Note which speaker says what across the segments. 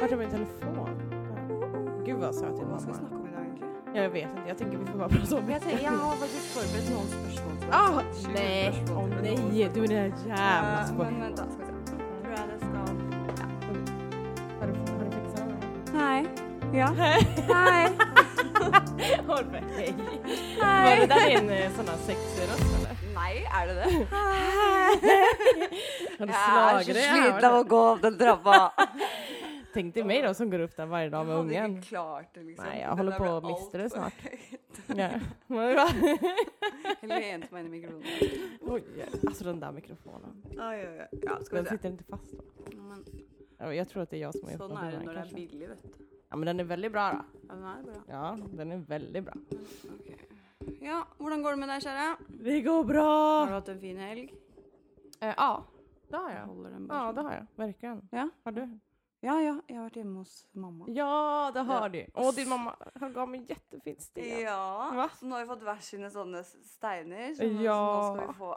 Speaker 1: vart är min telefon? Ja. Gud vad söt din
Speaker 2: Vad ska vi
Speaker 1: mamma
Speaker 2: snacka om idag egentligen?
Speaker 1: Ja, Jag vet inte, jag tänker vi får bara prata om
Speaker 2: Jag tänkte, jag har faktiskt förberett någon spörsmål. till
Speaker 1: Ah,
Speaker 2: oss. Tjugo
Speaker 1: nej. Åh
Speaker 2: spörsmål till oss.
Speaker 1: nej, du är den där jävla
Speaker 2: Eh,
Speaker 1: spöken.
Speaker 2: Men vänta, ska vi se. Tror jag det ska...
Speaker 1: Har du har du fixat det?
Speaker 2: Nej. Ja. Nej.
Speaker 1: Håll för hej. Var det
Speaker 2: Nej.
Speaker 1: där din eh, sån här sexröst eller?
Speaker 2: Nej, är det det?
Speaker 1: Har du
Speaker 2: Ja,
Speaker 1: slagit dig?
Speaker 2: Äh, sluta och gå av den drabba.
Speaker 1: Tänk dig mig då som går upp där varje dag med
Speaker 2: Ja, det är
Speaker 1: ungen.
Speaker 2: klart. Liksom.
Speaker 1: Nej, jag
Speaker 2: Den
Speaker 1: håller
Speaker 2: där
Speaker 1: på
Speaker 2: blir
Speaker 1: att mista
Speaker 2: allt för
Speaker 1: det snart.
Speaker 2: högt.
Speaker 1: Ja. Men va?
Speaker 2: Häll rent med en i mikrofonen.
Speaker 1: Oj, alltså den där mikrofonen.
Speaker 2: Aj, aj, aj. Ja, ska vi
Speaker 1: Den
Speaker 2: se.
Speaker 1: sitter inte fast va?
Speaker 2: Ja, men
Speaker 1: Ja, Jag tror att det är jag som har
Speaker 2: Sån
Speaker 1: öppnat
Speaker 2: är
Speaker 1: den
Speaker 2: den
Speaker 1: här
Speaker 2: när den är
Speaker 1: kanske.
Speaker 2: billig vet du.
Speaker 1: Ja men den är väldigt bra då.
Speaker 2: Ja, den är bra.
Speaker 1: Ja, den är väldigt bra.
Speaker 2: Okej. Ja, hur går det med dig kära?
Speaker 1: Det går
Speaker 2: Har
Speaker 1: bra!
Speaker 2: du haft en fin helg?
Speaker 1: Eh, ja, det har
Speaker 2: Jag
Speaker 1: jag.
Speaker 2: håller den bara
Speaker 1: Ja,
Speaker 2: så.
Speaker 1: det har jag. Verkligen.
Speaker 2: Ja.
Speaker 1: Har du?
Speaker 2: ja, ja, jag har varit hemma hos mamma.
Speaker 1: Ja, det har
Speaker 2: Ja.
Speaker 1: du. Åh, din mamma hon gav mig en jättefin sten.
Speaker 2: Ja,
Speaker 1: Va?
Speaker 2: så nu har vi fått varsina sådana steiner. Så
Speaker 1: Ja.
Speaker 2: nu så nu ska vi få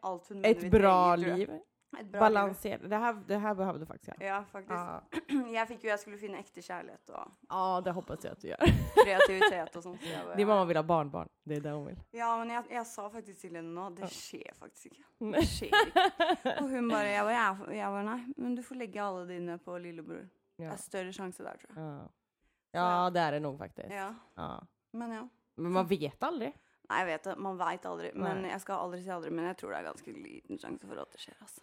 Speaker 2: allt hon
Speaker 1: Ett bra liv.
Speaker 2: Ett bra liv.
Speaker 1: Balanserat. Det här, det här behövde faktiskt jag.
Speaker 2: Ja, faktiskt.
Speaker 1: Ja.
Speaker 2: Jag fick ju jag skulle finna äkta kärlek och
Speaker 1: ja, det hoppas jag att du gör.
Speaker 2: kreativitet och sånt. så jag bara,
Speaker 1: Din mamma vill ha barnbarn. Det är det hon vill.
Speaker 2: Ja, men jag, jag sa faktiskt till henne nå, det sker faktiskt inte.
Speaker 1: Nej.
Speaker 2: Det sker inte. Och hon bara, jag bara, jag, jag bara, nej, men du får lägga alla dina på lillebror. Det
Speaker 1: Ja,
Speaker 2: är större chanser där tror jag.
Speaker 1: ja. ja det är det nog faktiskt.
Speaker 2: Ja,
Speaker 1: Ja.
Speaker 2: men ja.
Speaker 1: Men man vet aldrig.
Speaker 2: Nej, jag vet det, man vet aldrig. Men
Speaker 1: Nej.
Speaker 2: jag ska aldrig säga aldrig, men jag tror det är ganska liten chans för att det sker alltså.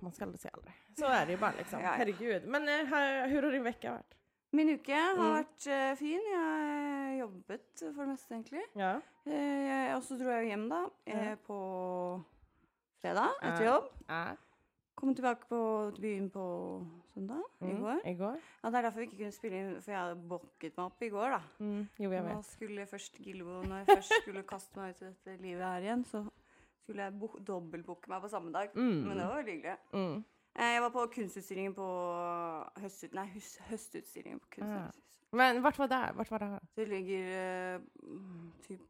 Speaker 1: Man ska aldrig säga aldrig. Så är det ju bara liksom.
Speaker 2: Ja, ja.
Speaker 1: Herregud. Men eh, här, hur har din vecka varit?
Speaker 2: Min uke har
Speaker 1: Mm.
Speaker 2: varit eh, fin. Jag har jobbet för det mesta egentlig.
Speaker 1: Ja.
Speaker 2: Eh, och så drog jag hem då eh,
Speaker 1: Ja.
Speaker 2: på fredag efter
Speaker 1: Ja.
Speaker 2: jobb.
Speaker 1: ja.
Speaker 2: Kom tillbaka på byn på söndag igår.
Speaker 1: Mm. Igår.
Speaker 2: Ja, det är därför vi inte kunde spela in, för jag hade bockat mig upp igår då.
Speaker 1: Mm. Jo, jag vet.
Speaker 2: Jag skulle först Gilbo, när jag först skulle kasta mig ut i detta livet här igen så skulle jag bo- dubbelboka mig på samma dag.
Speaker 1: Mm.
Speaker 2: Men det var väldigt hyggligt.
Speaker 1: Mm.
Speaker 2: Eh, jag var på konstutställningen på höstut, nej, hus, höstutställningen på Kunsthuset.
Speaker 1: Men vart var det? här? Vart var det? här?
Speaker 2: Det ligger eh, mm, typ,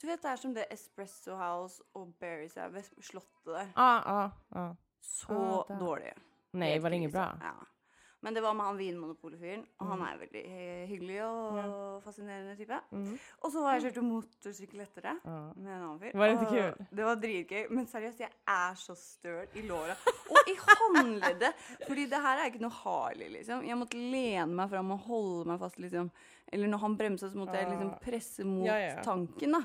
Speaker 2: du vet det här som det är Espresso House och Berries är, vid slottet där.
Speaker 1: Ja, ja, ja.
Speaker 2: Så
Speaker 1: där.
Speaker 2: dåligt.
Speaker 1: Nej,
Speaker 2: Helt
Speaker 1: var det inget
Speaker 2: krise.
Speaker 1: bra?
Speaker 2: Ja. Men det var med han vinmonopolfyren, och han
Speaker 1: Mm.
Speaker 2: är väldigt eh, hygglig och fascinerande type.
Speaker 1: Mm.
Speaker 2: Och så var jag kört motorcykel efter det.
Speaker 1: Ja.
Speaker 2: Med en annen fyr.
Speaker 1: Var det inte
Speaker 2: Åh,
Speaker 1: kul?
Speaker 2: Det var dritgøy. Men seriøst, jeg er så støl i låra og i håndleddet. Fordi det her er ikke noe Harley, liksom. Jeg måtte lene meg fram og holde meg fast, liksom. Eller når han bremsa, så måtte jeg liksom
Speaker 1: Ah.
Speaker 2: presse mot
Speaker 1: Ja, ja. Mm.
Speaker 2: tanken, da.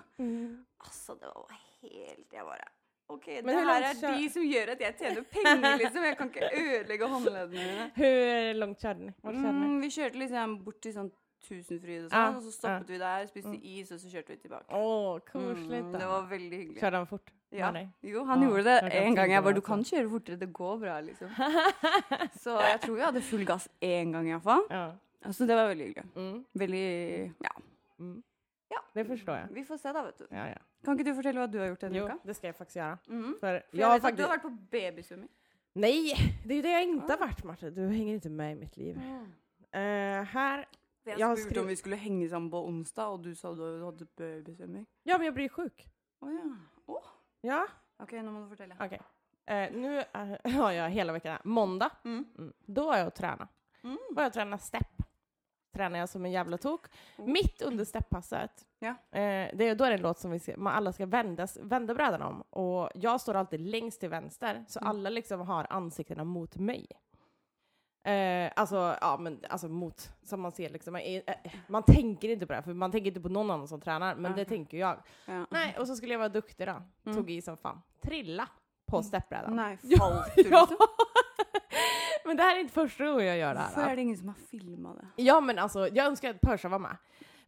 Speaker 2: Altså, det var helt Jeg bare OK, det
Speaker 1: hvor
Speaker 2: her
Speaker 1: langt
Speaker 2: er
Speaker 1: kjø-
Speaker 2: de som gjør at jeg tjener penger, liksom. Jeg kan ikke ødelegge håndleddene mine.
Speaker 1: Hur långt körde ni? Vart körde ni?
Speaker 2: Mm, vi kjørte liksom bort til sånn Tusenfryd og
Speaker 1: Ah,
Speaker 2: sånn, og så stoppet vi der, spiste is, og så kjørte vi tilbake.
Speaker 1: Mm. Åh,
Speaker 2: Mm,
Speaker 1: kusligt.
Speaker 2: det
Speaker 1: då.
Speaker 2: var veldig hyggelig.
Speaker 1: Körde han fort?
Speaker 2: Mm. Ja.
Speaker 1: Med dig?
Speaker 2: Jo, han
Speaker 1: Ja,
Speaker 2: gjorde det
Speaker 1: jag kan
Speaker 2: en gång.
Speaker 1: tänka
Speaker 2: Jag bara,
Speaker 1: mig
Speaker 2: du
Speaker 1: att
Speaker 2: kan köra fortare, det går bra liksom. Så jag tror jag hade full gas en gång i alla fall.
Speaker 1: Ja.
Speaker 2: Så det var väldigt hyggligt.
Speaker 1: Mm.
Speaker 2: Väldigt, ja.
Speaker 1: Mm.
Speaker 2: Ja.
Speaker 1: Det förstår jag.
Speaker 2: Vi får se då, vet du.
Speaker 1: Ja, ja.
Speaker 2: Kan inte du berätta vad du har gjort den
Speaker 1: Jo,
Speaker 2: veckan?
Speaker 1: det ska jag faktiskt göra.
Speaker 2: Mm.
Speaker 1: För
Speaker 2: För
Speaker 1: jag
Speaker 2: jag
Speaker 1: har
Speaker 2: vet att du har Ah.
Speaker 1: faktiskt...
Speaker 2: varit på bebissumming.
Speaker 1: Nej, det är ju det jag inte har varit Martin. Du hänger inte med i mitt
Speaker 2: Mm.
Speaker 1: liv. Eh, här...
Speaker 2: Jag,
Speaker 1: Jag har
Speaker 2: jag spurte
Speaker 1: skrivit-
Speaker 2: om vi skulle hänga samman på onsdag och du sa att du hade bebissumming.
Speaker 1: Ja, men jag blir sjuk.
Speaker 2: Åh ja. Åh.
Speaker 1: Ja,
Speaker 2: Okej, nu måste du berätta.
Speaker 1: okej. Eh, nu är, har jag hela veckan här. Måndag,
Speaker 2: Mm.
Speaker 1: mm. då har jag och träna.
Speaker 2: Mm.
Speaker 1: Var jag träna stepp. Tränar jag som en jävla tok. Mitt under stepppasset,
Speaker 2: Mm. Ja.
Speaker 1: eh, det är, då är det en låt som vi ska, man alla ska vändas, vända brädan om. Och jag står alltid längst till vänster, så
Speaker 2: Mm.
Speaker 1: alla liksom har ansiktena mot mig. Eh, alltså, ja men alltså mot, som man ser liksom. Man, är, eh, man tänker inte på det, här, för man tänker inte på någon annan som tränar, men det
Speaker 2: Nej.
Speaker 1: tänker jag.
Speaker 2: ja.
Speaker 1: Nej, och så skulle jag vara duktig då.
Speaker 2: Mm.
Speaker 1: Tog i som fan. Trilla på steppbrädan.
Speaker 2: Nej, falt du
Speaker 1: Ja.
Speaker 2: liksom?
Speaker 1: men det här är inte första gången jag gör det här.
Speaker 2: Varför är det ingen som har filmat det?
Speaker 1: Ja men alltså, jag önskar att Persa var med.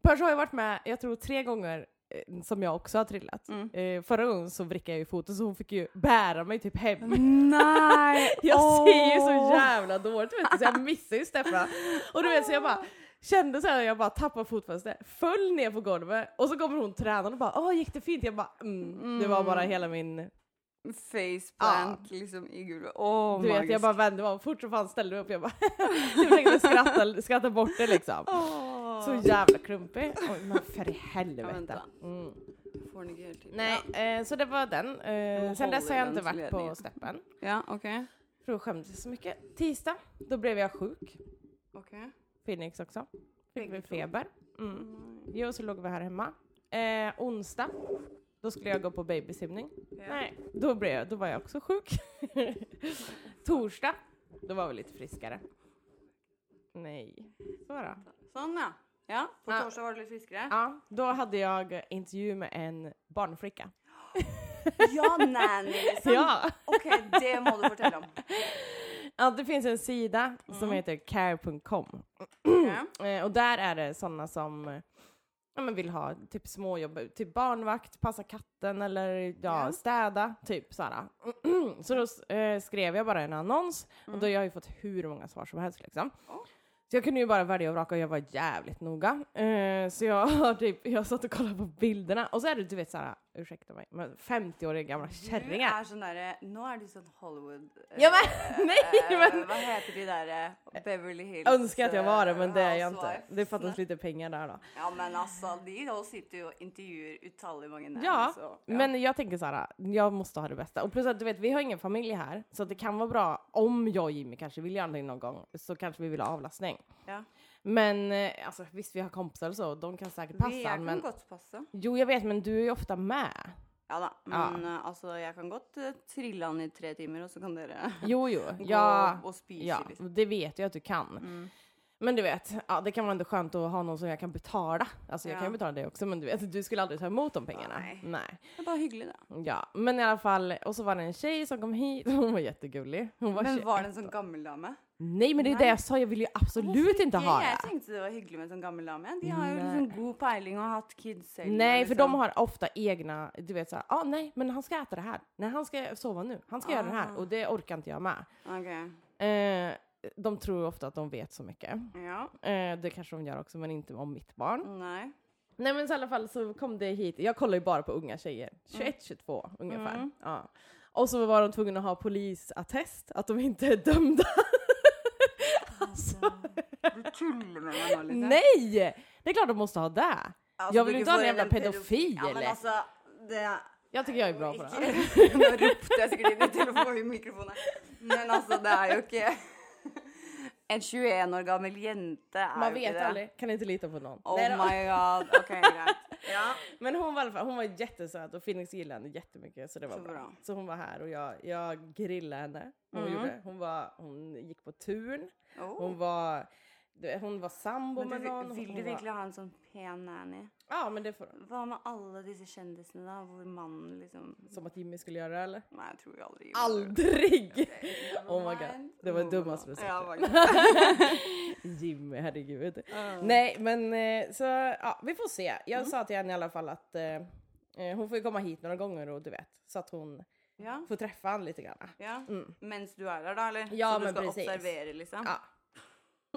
Speaker 1: Persa har ju varit med, jag tror tre gånger eh, som jag också har trillat.
Speaker 2: Mm.
Speaker 1: Eh, förra gången så vrickade jag ju foten så hon fick ju bära mig typ hem.
Speaker 2: Nej!
Speaker 1: Jag ser ju
Speaker 2: åh.
Speaker 1: så jävla dåligt vet du, så jag missar ju Steffa. Och du vet så jag bara kände så här, jag bara tappade fotfästet, föll ner på golvet och så kommer hon tränaren och bara åh gick det fint? Jag bara mm. Det var bara hela min,
Speaker 2: faceplant liksom i gulvet. Åh,
Speaker 1: du vet jag
Speaker 2: magiskt.
Speaker 1: bara vände mig om fort som fan ställde mig upp. Jag bara jag tänkte skratta, skratta bort det liksom.
Speaker 2: Åh.
Speaker 1: Så jävla klumpig. Oj, men för i helvete.
Speaker 2: vänta.
Speaker 1: Mm.
Speaker 2: Får ni grejer till.
Speaker 1: Nej, eh, så det var den. Eh,
Speaker 2: Men
Speaker 1: sen dess har jag
Speaker 2: håller
Speaker 1: inte
Speaker 2: den
Speaker 1: varit på
Speaker 2: ledningen.
Speaker 1: steppen.
Speaker 2: Ja, ja okej.
Speaker 1: För då skämdes jag så mycket. Tisdag, då blev jag sjuk.
Speaker 2: Okej.
Speaker 1: Phoenix också. Fick
Speaker 2: Bägge
Speaker 1: vi
Speaker 2: två.
Speaker 1: feber. Mm. Jo, så låg vi här hemma. Eh, onsdag, då skulle jag gå på babysimning. Nej, då, blev jag, då var jag också sjuk. Torsdag, då var vi lite friskare. Nej, så då.
Speaker 2: Såna. Ja, på
Speaker 1: Ja.
Speaker 2: torsdag var du lite friskare.
Speaker 1: Ja, då hade jag intervju med en barnflicka.
Speaker 2: Ja, nanny. liksom.
Speaker 1: Ja.
Speaker 2: Okej, det må du fortälla om.
Speaker 1: ja, det finns en sida
Speaker 2: Mm.
Speaker 1: som heter care.com
Speaker 2: Okej.
Speaker 1: Eh, och där är det sådana som eh, ja, men vill ha typ småjobb, typ barnvakt, passa katten eller ja,
Speaker 2: Ja.
Speaker 1: städa, typ sådär. så då eh, skrev jag bara en annons och då har jag ju fått hur många svar som helst liksom.
Speaker 2: Mm. Ja.
Speaker 1: Så jag kunde ju bara välja och vraka och jag var jävligt noga. Eh, så jag, har typ, jag satt och kollade på bilderna och så är det du vet såhär, ursäkta mig, men 50-åriga gamla
Speaker 2: Du
Speaker 1: kärringar.
Speaker 2: är sån där, eh, nu är du sån Hollywood... eh,
Speaker 1: Ja men nej
Speaker 2: eh,
Speaker 1: men!
Speaker 2: Vad heter det där eh, Beverly Hills? eh,
Speaker 1: Önskar att jag var det men det är jag inte.
Speaker 2: housewife.
Speaker 1: Det fattas lite pengar där då.
Speaker 2: Ja men alltså, de då sitter ju och intervjuar utalliga många nannies.
Speaker 1: Ja,
Speaker 2: så, ja.
Speaker 1: Men jag tänker så här, jag måste ha det bästa. Och plus att du vet, vi har ingen familj här, så att det kan vara bra om jag och Jimmy kanske vill göra någonting någon gång, så kanske vi vill ha avlastning.
Speaker 2: Ja.
Speaker 1: Men eh, alltså, visst, vi har kompisar och så, de kan säkert passa.
Speaker 2: Vi, jag kan
Speaker 1: men...
Speaker 2: godt passe.
Speaker 1: Jo, jag vet, men du är ju ofta med.
Speaker 2: Ja da.
Speaker 1: Ja.
Speaker 2: Men eh, altså, jeg kan godt eh, trille han i tre timer, og så kan dere
Speaker 1: Jo, jo.
Speaker 2: gå
Speaker 1: Ja,
Speaker 2: og- og spise,
Speaker 1: ja,
Speaker 2: liksom.
Speaker 1: det vet jag att du kan.
Speaker 2: Mm.
Speaker 1: Men du vet, ja, det kan vara ändå skönt att ha någon som jag kan betala. Alltså jag
Speaker 2: Ja.
Speaker 1: kan ju betala det också, men du vet, du skulle aldrig ta emot de pengarna.
Speaker 2: Nej.
Speaker 1: Nej.
Speaker 2: Det er bare hyggelig, da.
Speaker 1: Ja, men i alla fall, och så var det en tjej som kom hit, hon var jättegullig. Hon var
Speaker 2: Men
Speaker 1: 21
Speaker 2: var det en sånn gammel dame?
Speaker 1: Nej men det är det jag sa, jag vill ju absolut inte ha
Speaker 2: Jeg
Speaker 1: det.
Speaker 2: tenkte det var hyggelig med en sånn gammel dame. De har jo
Speaker 1: Nei.
Speaker 2: liksom god peiling og har hatt kids selv.
Speaker 1: Nej för de
Speaker 2: liksom.
Speaker 1: har ofta egna, du vet såhär, ah, nej men han ska äta det här, nej han ska sova nu, han ska göra det här och det orkar inte jag med.
Speaker 2: Ok.
Speaker 1: Eh, de tror ofta att de vet så mycket.
Speaker 2: Ja.
Speaker 1: Eh, det kanske de gör också men inte om mitt barn.
Speaker 2: Nei.
Speaker 1: Nej men så i alla fall så kom det hit, jag kollar ju bara på unga tjejer, 21-22 ungefär. Ja. Och så var de tvungna att ha polisattest, att de inte är dömda.
Speaker 2: Du tuller med meg nå, liksom.
Speaker 1: Nej! Det är klart de måste ha det.
Speaker 2: Alltså,
Speaker 1: jag vill inte ha en jävla pedofil.
Speaker 2: Ja, men altså, det
Speaker 1: jag tycker jag är bra på det.
Speaker 2: Ikke- Nå ropte jeg sikkert inn i telefonen i mikrofonen. Men altså, det er jo ikke En 21 år gammel jente er
Speaker 1: Man
Speaker 2: jo ikke
Speaker 1: vet
Speaker 2: det.
Speaker 1: aldrig, kan inte lita på någon.
Speaker 2: Oh
Speaker 1: Nej då.
Speaker 2: my god. Ok, greit. Ja.
Speaker 1: Men hon var, i alla fall, hon var jättesöt och Phoenix gillade henne jättemycket så det var
Speaker 2: Så
Speaker 1: bra.
Speaker 2: bra. Mm.
Speaker 1: Så hon var här och jag, jag grillade henne. Hon, gjorde, hon, var, hon gick på turn,
Speaker 2: Oh.
Speaker 1: hon var, du vet, hon var sambo
Speaker 2: Men
Speaker 1: med någon.
Speaker 2: du, vil
Speaker 1: hon
Speaker 2: du
Speaker 1: var-
Speaker 2: virkelig ha en sånn pen nanny?
Speaker 1: Ja men det får
Speaker 2: Hva med alle disse kjendisene, da? Hvor mannen liksom
Speaker 1: Som att Jimmy skulle göra det eller?
Speaker 2: Nei, jeg tror jo aldri
Speaker 1: Aldrig! Oh my god. Det var det dummaste du sagt.
Speaker 2: Ja, my god.
Speaker 1: Jimmy, herregud. Nej, men eh, så ja, vi får se. Jag
Speaker 2: Mm.
Speaker 1: sa till henne i alla fall att eh, eh, hon får ju komma hit några gånger och du vet, så att hon
Speaker 2: ja.
Speaker 1: får träffa honom lite grann.
Speaker 2: ja. Mens du er der, da? eller?
Speaker 1: Mm. Ja,
Speaker 2: Så du
Speaker 1: men
Speaker 2: skal
Speaker 1: precis.
Speaker 2: observere, liksom?
Speaker 1: Ja.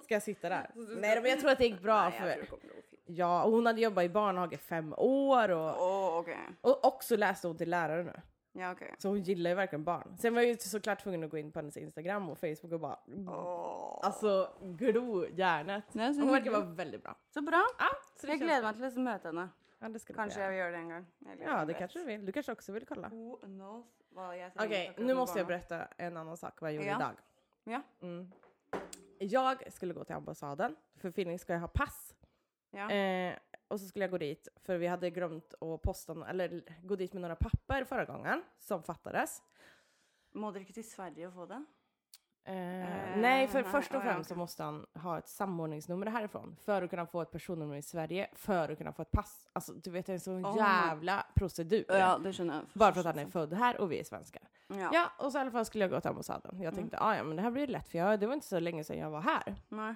Speaker 1: Ska jag sitta där? Nej, men jag tror att det gick bra
Speaker 2: Nei, jeg tror
Speaker 1: för
Speaker 2: det kommer til å gå fint.
Speaker 1: Ja, och hon hade jobbat i barnhage i fem år och,
Speaker 2: Åh, ok.
Speaker 1: och också läste hon till lärare nu.
Speaker 2: Ja, ok.
Speaker 1: Så hon gillar ju verkligen barn. Sen var jag ju såklart tvungen att gå in på hennes Instagram och Facebook och bara
Speaker 2: Åh.
Speaker 1: alltså glo hjärnet.
Speaker 2: Nej, så
Speaker 1: Hon verkar
Speaker 2: hyggligt.
Speaker 1: vara väldigt bra.
Speaker 2: Så bra.
Speaker 1: Ja, så det
Speaker 2: Jeg
Speaker 1: känns
Speaker 2: gleder meg til å møte henne.
Speaker 1: Ja, det ska du få
Speaker 2: Kanskje
Speaker 1: göra.
Speaker 2: jeg vil gjøre det en gang. Eller
Speaker 1: Ja,
Speaker 2: hvem
Speaker 1: det
Speaker 2: vet.
Speaker 1: kanske du vill. Du kanske också vill kolla.
Speaker 2: Who knows hva jeg trenger
Speaker 1: Okej,
Speaker 2: akkurat
Speaker 1: nu måste jag
Speaker 2: barna.
Speaker 1: berätta en annan sak vad jag gjorde
Speaker 2: Ja.
Speaker 1: idag. Mm.
Speaker 2: Ja.
Speaker 1: Jag skulle gå till ambassaden, för Phoenix ska jag ha pass.
Speaker 2: Ja.
Speaker 1: Eh, och så skulle jag gå dit, för vi hade glömt att posta, no- eller gå dit med några papper förra gången som fattades.
Speaker 2: Må dere ikke til Sverige og få det?
Speaker 1: Eh,
Speaker 2: Eh,
Speaker 1: nej, för
Speaker 2: nej,
Speaker 1: först och
Speaker 2: oj,
Speaker 1: främst så måste han ha ett samordningsnummer härifrån för att kunna få ett personnummer i Sverige, för att kunna få ett pass. Alltså du vet, det är en sån
Speaker 2: Oh my-
Speaker 1: jävla procedur.
Speaker 2: det skjønner jeg.
Speaker 1: Bara för att han är född här och vi är svenskar.
Speaker 2: Ja.
Speaker 1: Ja, och så i alla fall skulle jag gå till ambassaden. Jag tänkte, ah, ja men det här blir ju lätt för jag, det var inte så länge sedan jag var här.
Speaker 2: Nei.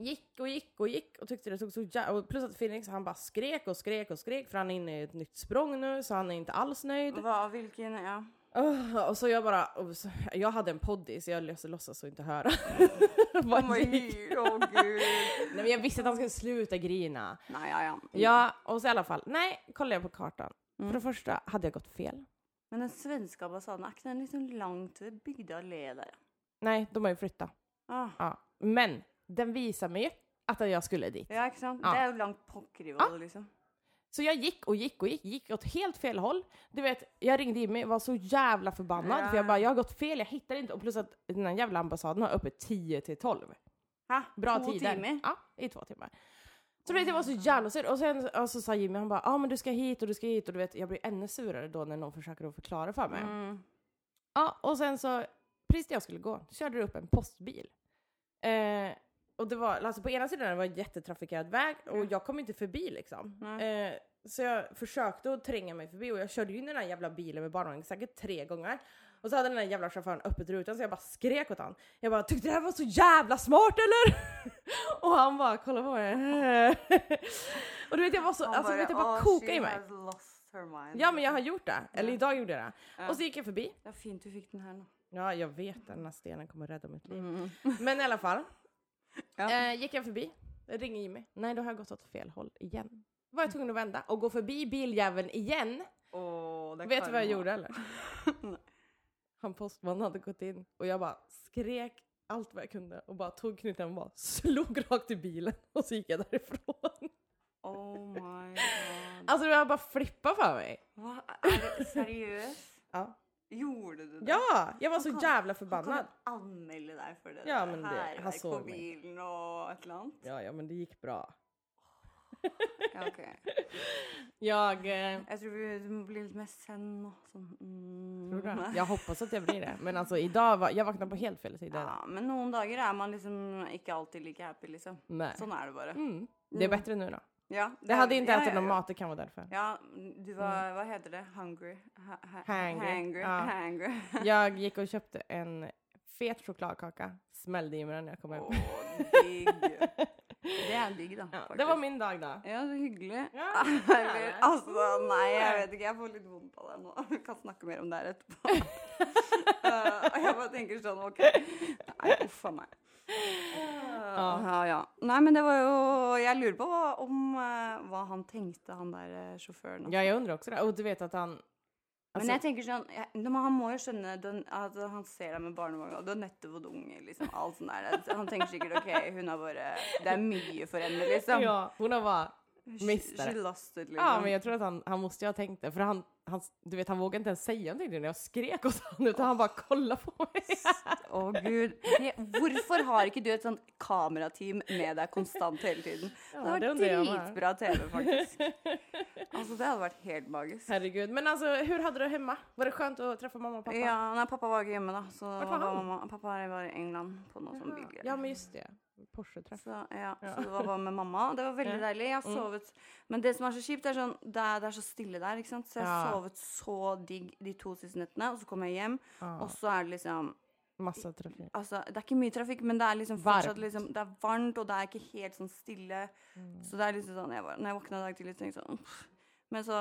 Speaker 1: Gick och gick och gick och tyckte det tog så jävla... Plus att Phoenix han bara skrek och skrek och skrek för han är inne i ett nytt språng nu så han är inte alls nöjd.
Speaker 2: Hva, hvilken Ja.
Speaker 1: Åh, och så jag bara... och så- Jag hade en poddis så jag låts- låtsas och inte höra. Bara
Speaker 2: Oh my
Speaker 1: gick.
Speaker 2: god, oh gud.
Speaker 1: Nej men jag visste att han skulle sluta grina.
Speaker 2: Nei, ja, ja.
Speaker 1: Ja, och så i alla fall. Nej, kollade jag på kartan. För det första hade jag gått fel.
Speaker 2: Men den svenske ambassaden, er ikke den liksom langt ved Bygda allé der?
Speaker 1: Nej, de har ju flyttat.
Speaker 2: Ah.
Speaker 1: Ja. Men den visar mig ju att jag skulle dit.
Speaker 2: Ja, ikke sant?
Speaker 1: Ja.
Speaker 2: Det er jo langt pokker i hva
Speaker 1: Ah.
Speaker 2: det, liksom.
Speaker 1: Så jag gick och gick och gick, gick åt helt fel håll. Du vet, jag ringde Jimmy var så jävla förbannad för jag bara, jag har gått fel, jag hittar inte. Och plus att den här jävla ambassaden har öppet 10 till 12.
Speaker 2: Ha,
Speaker 1: Bra
Speaker 2: två
Speaker 1: tider.
Speaker 2: timmar?
Speaker 1: Ja, i två timmar. Så du vet, jag var så jävla sur. Och sen och så sa Jimmy, han bara, ja ah, men du ska hit och du ska hit. Och du vet, jag blir ännu surare då när någon försöker att förklara för mig.
Speaker 2: Mm.
Speaker 1: Ja, och sen så, precis när jag skulle gå, körde det upp en postbil. Eh, och det var, alltså på ena sidan var det en jättetrafikerad väg och
Speaker 2: Mm.
Speaker 1: jag kom inte förbi liksom. Eh, så jag försökte att tränga mig förbi och jag körde ju in i den här jävla bilen med barnvagn säkert tre gånger. Och så hade den där jävla chauffören öppet rutan så jag bara skrek åt honom. Jag bara “tyckte det här var så jävla smart eller?” Och han bara kolla på mig. och du vet jag var så,
Speaker 2: Han
Speaker 1: alltså du vet jag bara
Speaker 2: "Ah,
Speaker 1: kokade
Speaker 2: she
Speaker 1: i mig.
Speaker 2: has lost her mind.
Speaker 1: Ja men jag har gjort det, eller idag gjorde jag det. Och så gick jag förbi
Speaker 2: Det är fint du fick den här.
Speaker 1: Ja, jag vet. Den här stenen kommer rädda mitt liv. Men i alla fall.
Speaker 2: Ja.
Speaker 1: Eh, gick jag förbi, ringer Jimmy. Nej, då har jag gått åt fel håll igen. Var jag tvungen att vända och gå förbi biljäveln igen.
Speaker 2: Oh,
Speaker 1: Vet du vad jag gjorde eller? Han postmannen hade gått in och jag bara skrek allt vad jag kunde och bara tog knuten och bara slog rakt i bilen och så gick jag därifrån.
Speaker 2: Oh my god.
Speaker 1: Alltså jag bara flippade för mig.
Speaker 2: Va? Är det seriöst?
Speaker 1: Ja,
Speaker 2: Gjorde du det?
Speaker 1: ja jag var så
Speaker 2: kom-
Speaker 1: jävla
Speaker 2: Han kommer
Speaker 1: förbannad.
Speaker 2: anmäla dig för det
Speaker 1: Ja,
Speaker 2: där.
Speaker 1: men det-
Speaker 2: här,
Speaker 1: han
Speaker 2: gick
Speaker 1: såg
Speaker 2: på
Speaker 1: mig.
Speaker 2: bilen och ett land.
Speaker 1: Ja, ja, men det gick bra.
Speaker 2: Ja, okej.
Speaker 1: Jag... Eh,
Speaker 2: Jag tror vi du blir lite mer sen och sån. Mm.
Speaker 1: Tror du det? Jag hoppas att jag blir det. Men alltså idag, var, jag vaknade på helt fel sida.
Speaker 2: Ja, men noen dager er man liksom ikke alltid like happy, liksom.
Speaker 1: Nej.
Speaker 2: Sånn er det bare.
Speaker 1: Mm. Det är bättre nu då.
Speaker 2: Ja, det
Speaker 1: Jag hade
Speaker 2: er-
Speaker 1: inte
Speaker 2: ja,
Speaker 1: ätit
Speaker 2: ja, ja.
Speaker 1: någon mat, det kan vara därför.
Speaker 2: Ja, du var Hva heter det? Hungry? Ha, ha,
Speaker 1: Mm. Hangry.
Speaker 2: Hangry.
Speaker 1: Ja.
Speaker 2: hangry.
Speaker 1: Jag gick och köpte en fet chokladkaka, smällde i mig den när jag kom hem.
Speaker 2: Å, digg. Det er digg, da.
Speaker 1: Ja,
Speaker 2: faktisk.
Speaker 1: det var min dag då.
Speaker 2: Ja, alltså- så hyggelig.
Speaker 1: Ja,
Speaker 2: Eller, altså, nei, jeg vet ikke. Jeg får litt vondt av det nå. Vi kan snakke mer om det her etterpå. Eh, og jeg bare tenker sånn OK. Nei, uff a meg.
Speaker 1: Ja.
Speaker 2: Ja, ja. Nei, men det var jo Jeg lurer på hva, om eh, hva han tenkte, han der eh, sjåføren.
Speaker 1: ja, jag undrar också det. Och du vet att han...
Speaker 2: men jeg
Speaker 1: Alltså,
Speaker 2: tenker sånn jeg, men Han må jo skjønne den, at han ser deg med barnevogn, og du har nettopp fått unge, liksom. Alt sånt der. Han tenker sikkert OK, hun har bare Det er mye for henne, liksom.
Speaker 1: ja, hon har bara...
Speaker 2: she,
Speaker 1: mister
Speaker 2: she
Speaker 1: det.
Speaker 2: lost it, liksom.
Speaker 1: Ja, men jag tror att han, han måste ju ha tänkt det. För han, han, du vet, han vågade inte ens säga någonting när jag skrek åt honom. Utan han bara kollade på mig.
Speaker 2: Å, gud. Det, hvorfor har ikke du et sånt kamerateam med deg konstant hele tiden?
Speaker 1: Ja,
Speaker 2: det
Speaker 1: det
Speaker 2: hadde
Speaker 1: undrer jeg
Speaker 2: vært
Speaker 1: meg.
Speaker 2: dritbra TV, faktisk. Altså, det hadde vært helt magisk.
Speaker 1: Herregud. Men alltså, hur hade du det hemma? Var det skönt att träffa mamma och pappa?
Speaker 2: Ja, nei, pappa var ikke hjemme, da. Så
Speaker 1: Vart var
Speaker 2: var
Speaker 1: han?
Speaker 2: mamma, pappa var i England på noe sånn
Speaker 1: Ja.
Speaker 2: bygge.
Speaker 1: ja, men just det. Porsche-träff.
Speaker 2: Så, Alltså, ja, så det var bare med mamma. Det var veldig deilig. Jeg har
Speaker 1: Mm.
Speaker 2: sovet Men det som er så kjipt, er sånn det er, det er så stille der, ikke sant. Så jeg har
Speaker 1: Ja.
Speaker 2: sovet så digg de to siste nettene, og så kom jeg hjem,
Speaker 1: Ja.
Speaker 2: og så er det liksom
Speaker 1: Massa trafik.
Speaker 2: Altså, det er ikke mye trafikk, men det er liksom
Speaker 1: Varmt.
Speaker 2: fortsatt liksom, det er varmt, og det er ikke helt sånn stille.
Speaker 1: Mm.
Speaker 2: Så det er liksom sånn, jeg var, når jeg våkna i dag tidlig, liksom, så tenkte jeg sånn pff. Men så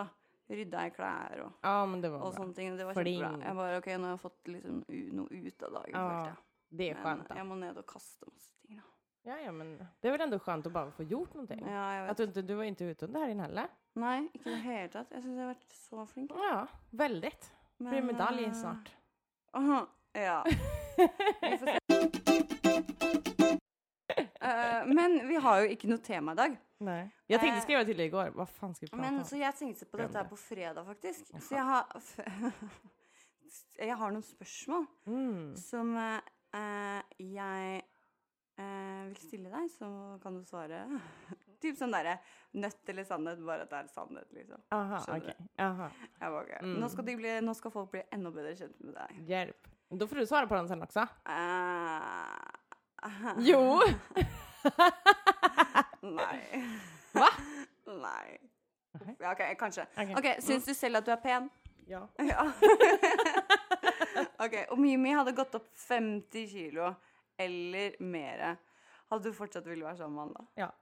Speaker 2: rydda jeg klær og,
Speaker 1: Ja, men det var
Speaker 2: og
Speaker 1: bra.
Speaker 2: sånne ting, og det var
Speaker 1: Fling.
Speaker 2: kjempebra. Jeg bare, ok, nå har jeg fått liksom u- noe ut av dagen,
Speaker 1: Ja,
Speaker 2: følte jeg.
Speaker 1: det är
Speaker 2: Men
Speaker 1: skönt. då.
Speaker 2: jeg må ned og kaste masse ting, da.
Speaker 1: Ja, ja, men det är väl ändå skönt att bara få gjort någonting.
Speaker 2: Ja, jeg
Speaker 1: Att
Speaker 2: vet.
Speaker 1: du, inte, du var inte ute under helgen heller.
Speaker 2: Nei, ikke i det hele tatt. Jeg syns jeg har vært så flink.
Speaker 1: Ja, väldigt. Det blir medalj
Speaker 2: eh,
Speaker 1: snart.
Speaker 2: aha, Ja. Vi får se. Eh, men vi har jo ikke noe tema i dag.
Speaker 1: Nej. Jag tänkte
Speaker 2: Eh,
Speaker 1: skriva till dig igår, vad fan ska vi prata
Speaker 2: Men
Speaker 1: om?
Speaker 2: så jeg tenkte på
Speaker 1: Glem
Speaker 2: dette her
Speaker 1: det.
Speaker 2: på fredag, faktisk. Så jeg har Jeg har noen spørsmål
Speaker 1: Mm.
Speaker 2: som eh, eh, jeg eh, vil stille deg, så kan du svare. typ sånn derre nødt eller sannhet, bare at det er sannhet, liksom.
Speaker 1: Aha,
Speaker 2: Skjønner
Speaker 1: okej. Aha,
Speaker 2: Jeg bare, ok.
Speaker 1: Mm.
Speaker 2: nå, skal de bli, nå skal folk bli enda bedre kjent med deg.
Speaker 1: hjälp. Då får du svara på den sen också.
Speaker 2: Eh,
Speaker 1: Jo!
Speaker 2: nei.
Speaker 1: Va?
Speaker 2: nei.
Speaker 1: Ok.
Speaker 2: Ja, OK, kanskje.
Speaker 1: Ok.
Speaker 2: OK, syns du selv at du er pen?
Speaker 1: Ja.
Speaker 2: Ja. ok, om Jimmy hadde gått opp 50 kilo eller mere, hadde du fortsatt ville være sammen med han da?
Speaker 1: ja.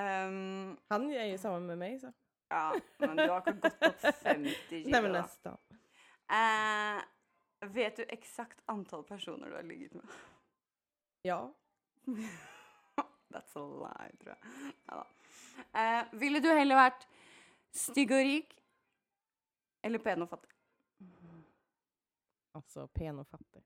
Speaker 2: Ehm,
Speaker 1: Han är ju samma med mig så.
Speaker 2: ja, men du har ikke gått opp 50 kilo.
Speaker 1: Nej men alltså.
Speaker 2: da.
Speaker 1: nästan.
Speaker 2: Eh, vet du eksakt antall personer du har ligget med?
Speaker 1: Ja.
Speaker 2: That's a lie, tror jeg. Ja, da. Eh, ville du heller vært stygg og rik eller pen og fattig?
Speaker 1: Alltså pen och fattig.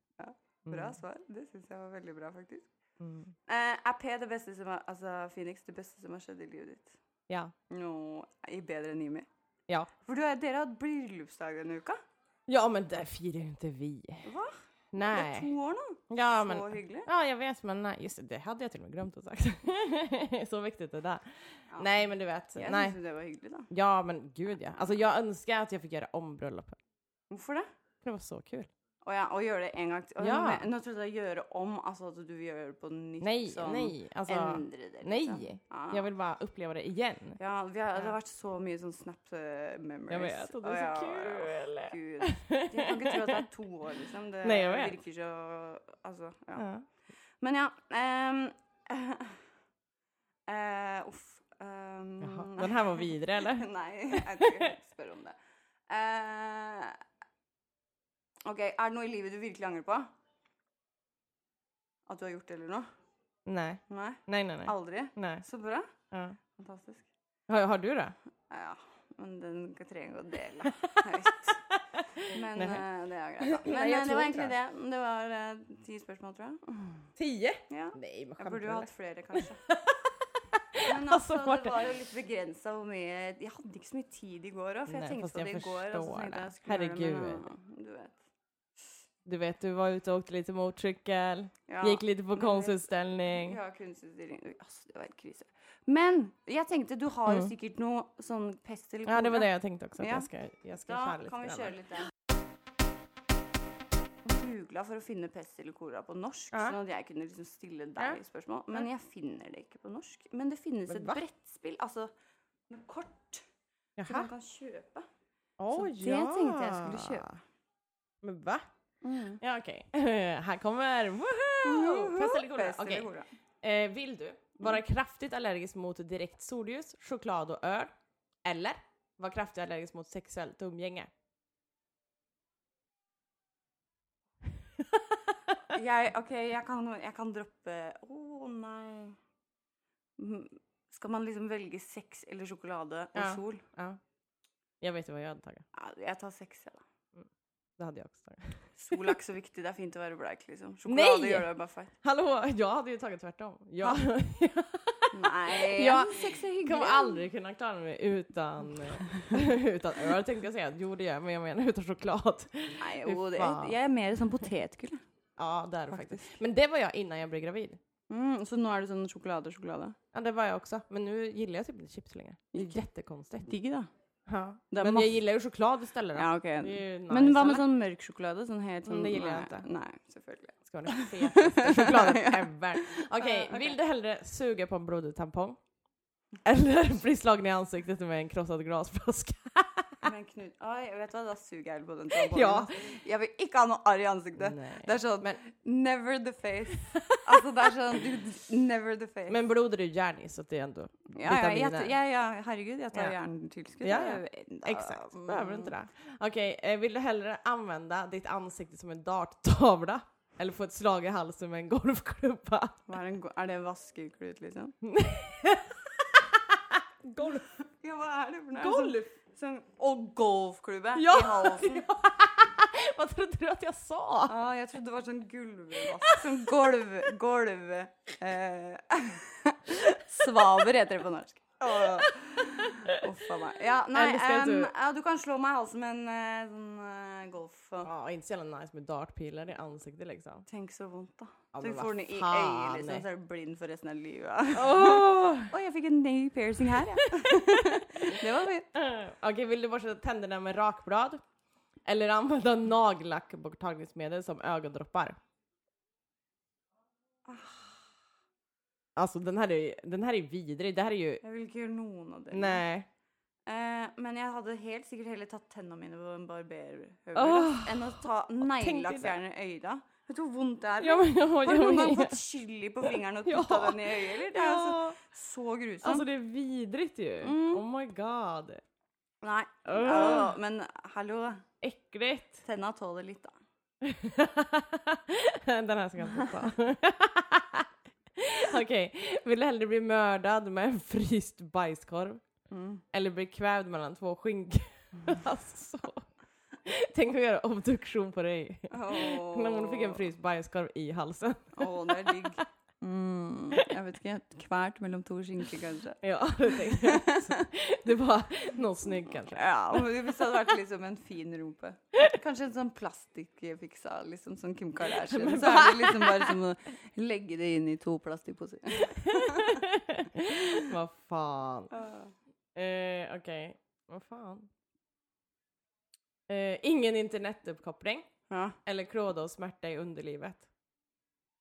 Speaker 2: Bra svar. Mm. Det syns jeg var veldig bra, faktisk.
Speaker 1: Mm.
Speaker 2: Eh, er P det beste som har, altså Phoenix det beste som har skjedd i livet ditt?
Speaker 1: Ja.
Speaker 2: No, i bedre enn Jimmy.
Speaker 1: Ja.
Speaker 2: For du, har- dere har hatt bryllupsdag denne uka.
Speaker 1: Ja men där firar ju inte vi.
Speaker 2: Hva? Jeg
Speaker 1: Nej.
Speaker 2: to år nå.
Speaker 1: Ja,
Speaker 2: Så
Speaker 1: men,
Speaker 2: hyggelig.
Speaker 1: ja, jag vet, men nej, just det, det hade jeg til og med glemt å sagt. Så viktig det der.
Speaker 2: Ja.
Speaker 1: Nej, men du vet.
Speaker 2: Jeg
Speaker 1: Nej.
Speaker 2: syns det var hyggelig, da.
Speaker 1: Ja, men gud ja. Alltså jag önskar att jag fick göra om bröllopet.
Speaker 2: Hvorfor det?
Speaker 1: Det var så kul.
Speaker 2: Å ja, og gjøre det en gang til. Å,
Speaker 1: Ja.
Speaker 2: men- Nå trodde jeg gjøre om, altså at du vil gjøre det på nytt.
Speaker 1: Nej,
Speaker 2: sånn,
Speaker 1: nej. Alltså,
Speaker 2: Endre det, liksom.
Speaker 1: nej.
Speaker 2: Ja.
Speaker 1: Jag vill bara uppleva det igen.
Speaker 2: Ja, vi har, det har
Speaker 1: Ja.
Speaker 2: vært så mye sånn snap eh, memories.
Speaker 1: Jag vet, och det är
Speaker 2: Å,
Speaker 1: så
Speaker 2: ja, ja.
Speaker 1: kul.
Speaker 2: Gud. Jeg kan ikke tro at det er to år, liksom. Det
Speaker 1: Nei, jeg vet.
Speaker 2: virker så Altså, ja.
Speaker 1: Ja.
Speaker 2: Men ja ehm, eh, Uff. ehm,
Speaker 1: Jaha. Den här var vidare eller?
Speaker 2: Nei, jeg tror ikke jeg spør om det. Eh, OK, er det noe i livet du virkelig angrer på? At du har gjort det, eller noe?
Speaker 1: Nej,
Speaker 2: Nei?
Speaker 1: nej, nej. nej.
Speaker 2: Aldri?
Speaker 1: nej.
Speaker 2: Så bra.
Speaker 1: Ja.
Speaker 2: Fantastisk.
Speaker 1: Har, har du det?
Speaker 2: Ja, ja. men den trenger jeg å dele høyt. Men
Speaker 1: Nei.
Speaker 2: eh, det er greit, da. Men
Speaker 1: Nei, jeg
Speaker 2: eh, det
Speaker 1: tror
Speaker 2: var
Speaker 1: ikke
Speaker 2: egentlig det. Det var eh, ti spørsmål, tror jeg.
Speaker 1: Tio?
Speaker 2: Ja.
Speaker 1: Nej, men
Speaker 2: Jeg burde
Speaker 1: skämtar
Speaker 2: jo
Speaker 1: du? Alltså,
Speaker 2: hatt flere, kanskje. Men
Speaker 1: Altså,
Speaker 2: altså,
Speaker 1: Marte.
Speaker 2: det var jo litt begrensa hvor mye Jeg hadde ikke så mye tid i går òg, for jeg
Speaker 1: Nei,
Speaker 2: tenkte
Speaker 1: fast
Speaker 2: på det
Speaker 1: jeg
Speaker 2: i går. Og så tenkte
Speaker 1: forstår
Speaker 2: jeg
Speaker 1: det.
Speaker 2: jeg skulle gjøre det, men, ja,
Speaker 1: Herregud.
Speaker 2: du vet.
Speaker 1: Du vet, du var ute och åkte lite motorcykel,
Speaker 2: Ja,
Speaker 1: gick lite på
Speaker 2: men-
Speaker 1: konstutställning.
Speaker 2: Ja, kunstutstilling. Oi, Altså, det var helt krise. Men jeg tenkte, du har jo
Speaker 1: Mm.
Speaker 2: sikkert noe sånn pest eller
Speaker 1: Ja, det var
Speaker 2: kolera.
Speaker 1: det jag tänkte också. Att
Speaker 2: Ja.
Speaker 1: jag ska, jag ska
Speaker 2: Da
Speaker 1: köra lite
Speaker 2: kan vi
Speaker 1: grann.
Speaker 2: kjøre litt der. Googla for å finne pest eller kolera på norsk,
Speaker 1: Ja.
Speaker 2: sånn at jeg kunne liksom stille
Speaker 1: Ja.
Speaker 2: deg spørsmål. Men jeg finner det ikke på norsk. Men det finnes
Speaker 1: Men
Speaker 2: et
Speaker 1: hva?
Speaker 2: brettspill, altså alltså, med kort, som
Speaker 1: Jaha.
Speaker 2: man kan kjøpe.
Speaker 1: Åh,
Speaker 2: det tänkte jag skulle köpa.
Speaker 1: Men va? Ja, okej. Här kommer... Woho!
Speaker 2: Woho!
Speaker 1: Mm. Pest eller kolera?
Speaker 2: Pest eller
Speaker 1: Okej.
Speaker 2: kolera.
Speaker 1: Eh, vill du vara kraftigt allergisk mot direkt solljus, choklad och öl? Eller vara kraftigt allergisk mot sexuellt umgänge?
Speaker 2: Jeg, ok, jeg kan, jeg kan droppe Å, nei. Mm, Skal man liksom velge sex eller sjokolade og
Speaker 1: Ja.
Speaker 2: sol?
Speaker 1: ja. Jeg vet jo hva jeg hadde tatt.
Speaker 2: Ja, jeg tar sex, jeg, da.
Speaker 1: Det hadde jeg også tatt.
Speaker 2: Sol er ikke så viktig. Det er fint å være bleik, liksom.
Speaker 1: Nei!
Speaker 2: Sjokolade gjør deg bare feit.
Speaker 1: Hallå! Jag hade ju tagit tvärtom. Jag,
Speaker 2: Nei.
Speaker 1: Ja,
Speaker 2: altså, sex er
Speaker 1: jag
Speaker 2: hyggelig.
Speaker 1: kommer aldrig kunna klara mig utan, utan öl tänkte jag säga. Jo det gör jag, men jag menar utan choklad.
Speaker 2: Nei,
Speaker 1: Fy
Speaker 2: jo, det,
Speaker 1: faen.
Speaker 2: jeg er mer sånn potetgull. jeg.
Speaker 1: Ja det är det faktiskt.
Speaker 2: Faktisk.
Speaker 1: Men det var jag innan jag blev gravid.
Speaker 2: Mm, så nå er det sånn sjokolade, sjokolade.
Speaker 1: Ja det var jag också. Men nu gillar jag typ inte chips längre. Det är
Speaker 2: Inte?
Speaker 1: jättekonstigt.
Speaker 2: Digg, da.
Speaker 1: Ja.
Speaker 2: Det er
Speaker 1: Men
Speaker 2: mass-
Speaker 1: jag gillar ju choklad istället då.
Speaker 2: Ja, ok.
Speaker 1: Det är ju nice,
Speaker 2: Men hva
Speaker 1: eller?
Speaker 2: med sånn mørk sjokolade? Sånn helt sånn
Speaker 1: Mm, det gillar jeg
Speaker 2: nei,
Speaker 1: ikke.
Speaker 2: Nei, selvfølgelig.
Speaker 1: Ska vara den fetaste chokladen
Speaker 2: Ja.
Speaker 1: ever. Okej,
Speaker 2: Ja, okej.
Speaker 1: vill du hellre suga på en blodig tampong? Eller bli slagen i ansiktet med en krossad glasflaska?
Speaker 2: Men Knut, oi, vet du hva, da suger jeg litt på den tampongen.
Speaker 1: Ja.
Speaker 2: Jeg vil ikke ha noe arr i ansiktet.
Speaker 1: Nej.
Speaker 2: Det er sånn
Speaker 1: Men-
Speaker 2: Never the face. Altså, det er sånn du, Never the face.
Speaker 1: Men blod är ju järn i, så det är ändå
Speaker 2: ja, ja, jeg,
Speaker 1: vitaminer.
Speaker 2: ja, ja, herregud, jeg tar
Speaker 1: Ja.
Speaker 2: jerntilskudd.
Speaker 1: Ja,
Speaker 2: Det
Speaker 1: ja.
Speaker 2: er jo enda-
Speaker 1: Exakt, behöver du inte det. Okej, eh, vill du hellre använda ditt ansikte som en darttavla? Eller få ett slag i halsen med en golfklubba?
Speaker 2: Hva Er, en go- er det en vaskeklut, liksom?
Speaker 1: Golf?
Speaker 2: Ja, hva er det for noe?
Speaker 1: Golf?
Speaker 2: Sånn, og golfklubbe
Speaker 1: Ja.
Speaker 2: i halsen.
Speaker 1: Vad trodde du att jag sa?
Speaker 2: Ah, jeg trodde det var sånn gulvvask. Sånn golv... golv eh, Svaber heter det på norsk. Åh, Uff a meg. Ja, nei,
Speaker 1: Eller skal
Speaker 2: em,
Speaker 1: du-
Speaker 2: ja, du kan slå meg i halsen med en eh, sånn eh, golf...
Speaker 1: Ja, inte så jävla nice med dartpilar i ansiktet liksom.
Speaker 2: Tenk så vondt, da.
Speaker 1: Ja,
Speaker 2: Så
Speaker 1: men
Speaker 2: du får
Speaker 1: hva
Speaker 2: den i
Speaker 1: faen,
Speaker 2: øyet, liksom,
Speaker 1: nei.
Speaker 2: så er du blind for resten av livet.
Speaker 1: Åh!
Speaker 2: Oi, jeg fikk en ny piercing her, ja. det var fint.
Speaker 1: Eh, Okej, vill du borsta tänderna med rakblad? Eller använda nagellackborttagningsmedel som ögondroppar? Ah. Alltså den här är ju, den här är vidrig, det här är ju...
Speaker 2: Jeg vil ikke gjøre noen av det.
Speaker 1: Nej.
Speaker 2: Eh, men jeg hadde helt sikkert heller tatt tennene mine på en barberhøvel
Speaker 1: Åh.
Speaker 2: enn å ta neglelakkfjerner i øya. Vet du hvor vondt det er?
Speaker 1: Ja, men, ja,
Speaker 2: Har du
Speaker 1: ja,
Speaker 2: noen
Speaker 1: men-
Speaker 2: gang fått chili på fingeren og
Speaker 1: Ja.
Speaker 2: putta den i øyet? Eller? Det er jo
Speaker 1: Ja.
Speaker 2: så, så grusomt.
Speaker 1: Alltså det är vidrigt ju.
Speaker 2: Mm.
Speaker 1: Oh my god.
Speaker 2: Nei.
Speaker 1: Åh.
Speaker 2: Ja, men hallo,
Speaker 1: Äckligt.
Speaker 2: tenna tåler litt, da.
Speaker 1: Den här ska jag inte ta. Okej, vill du hellre bli mördad med en fryst bajskorv? Eller bli kvävd mellan två skink? alltså. Tänk att göra obduktion på dig.
Speaker 2: Åh.
Speaker 1: När hon fick en fryst bajskorv i halsen.
Speaker 2: Åh, det er digg. Mm. Jeg vet ikke, et kvert mellom to skinker, kanskje.
Speaker 1: Ja, det tenkte jeg også. Det var noe snygg, kanskje.
Speaker 2: Ja, men Hvis det hadde vært liksom en fin rumpe. Kanskje en sånn plastikkfiksa, liksom som Kim Kardashian. Så er det liksom bare som å legge det inn i to plastikkposer.
Speaker 1: Hva faen? Eh, OK, hva faen? Eh, ingen internettuppkoppling
Speaker 2: Ja.
Speaker 1: eller klåda och smärta i underlivet.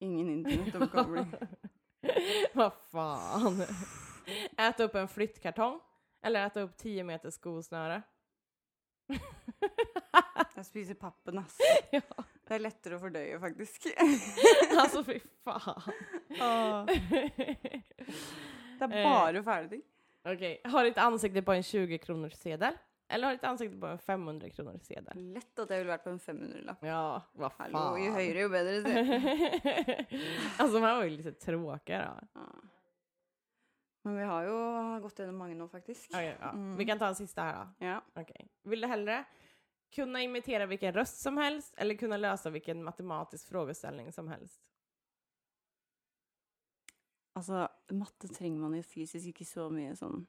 Speaker 2: Ingen internettomkobling.
Speaker 1: Vad fan. Äta upp en flyttkartong eller äta upp 10 meters skosnöre.
Speaker 2: Jeg spiser pappen, ass.
Speaker 1: Ja.
Speaker 2: Det er lettere å fordøye, faktisk.
Speaker 1: Alltså fy fan.
Speaker 2: Det
Speaker 1: Eh.
Speaker 2: er bare fæle ting.
Speaker 1: Okej, ha ditt ansikte på en 20 kronors sedel eller ha ditt ansikte på en 500 kronors sedel.
Speaker 2: Lett at jeg ville vært på en 500-lapp.
Speaker 1: Ja, vad fan.
Speaker 2: Hallo, jo høyere, jo bedre. sier jeg.
Speaker 1: alltså de här var ju lite tråkiga då.
Speaker 2: Ja. Men vi har jo gått gjennom mange nå, faktisk.
Speaker 1: Okej, ja. Vi kan ta en sista här då.
Speaker 2: Ja.
Speaker 1: Okej. Vill du hellre kunna imitera vilken röst som helst eller kunna lösa vilken matematisk frågeställning som helst?
Speaker 2: Altså, Alltså, matte trenger man jo fysisk ikke så mye sånn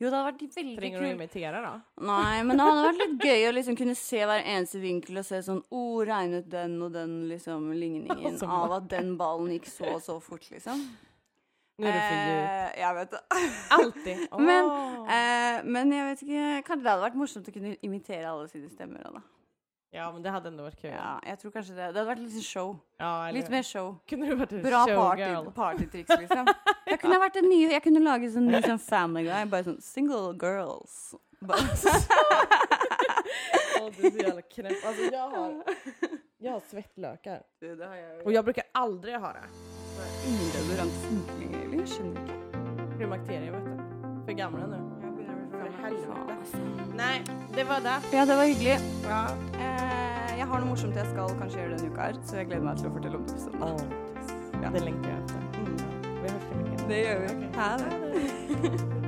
Speaker 2: Jo, det hadde vært veldig
Speaker 1: Trenger du
Speaker 2: kult.
Speaker 1: imitera då?
Speaker 2: Nei, men det hadde vært litt gøy å liksom kunne se hver eneste vinkel og se sånn Å, oh, regnet den og den liksom ligningen
Speaker 1: Altså,
Speaker 2: av at den ballen gikk så og så fort, liksom.
Speaker 1: Nu är du för djup.
Speaker 2: Eh, jeg vet det.
Speaker 1: Alltid. Åh.
Speaker 2: Men, eh, men jeg vet ikke Kanskje det hadde vært morsomt å kunne imitere alle sine stemmer òg, da.
Speaker 1: ja, men det hade ändå varit kul.
Speaker 2: Ja, jeg tror kanskje det. Det hadde vært litt sånn show.
Speaker 1: Ja, eller
Speaker 2: Litt
Speaker 1: hur?
Speaker 2: mer show.
Speaker 1: Kunde du varit en
Speaker 2: Bra
Speaker 1: showgirl?
Speaker 2: party, partytriks, liksom. Jeg kunne vært en ny Jeg kunne lage sånn ny sånn Family Guy, bare sånn Single girls. Bare,
Speaker 1: Åh, du är så jävla knäpp. Alltså jag har, jag har svettlökar.
Speaker 2: det har jeg
Speaker 1: Och jag brukar aldrig ha det.
Speaker 2: Intolerant funkling, eller? Jeg skjønner ikke.
Speaker 1: Klimakteriet vet du. För gamla nu.
Speaker 2: Jeg begynner å bli
Speaker 1: För
Speaker 2: gammel.
Speaker 1: helvete.
Speaker 2: Faen, ass.
Speaker 1: Nej, det var det.
Speaker 2: alltså. Ja, det var hyggelig.
Speaker 1: Ja.
Speaker 2: Eh, jeg har noe morsomt jeg skal kanskje gjøre denne uka her, så jeg gleder meg til å fortelle om det på søndag. Mm.
Speaker 1: Det längtar jag efter. Vi hörs så mycket.
Speaker 2: Det gjør vi. Ha det.
Speaker 1: Ha det.
Speaker 2: Eh,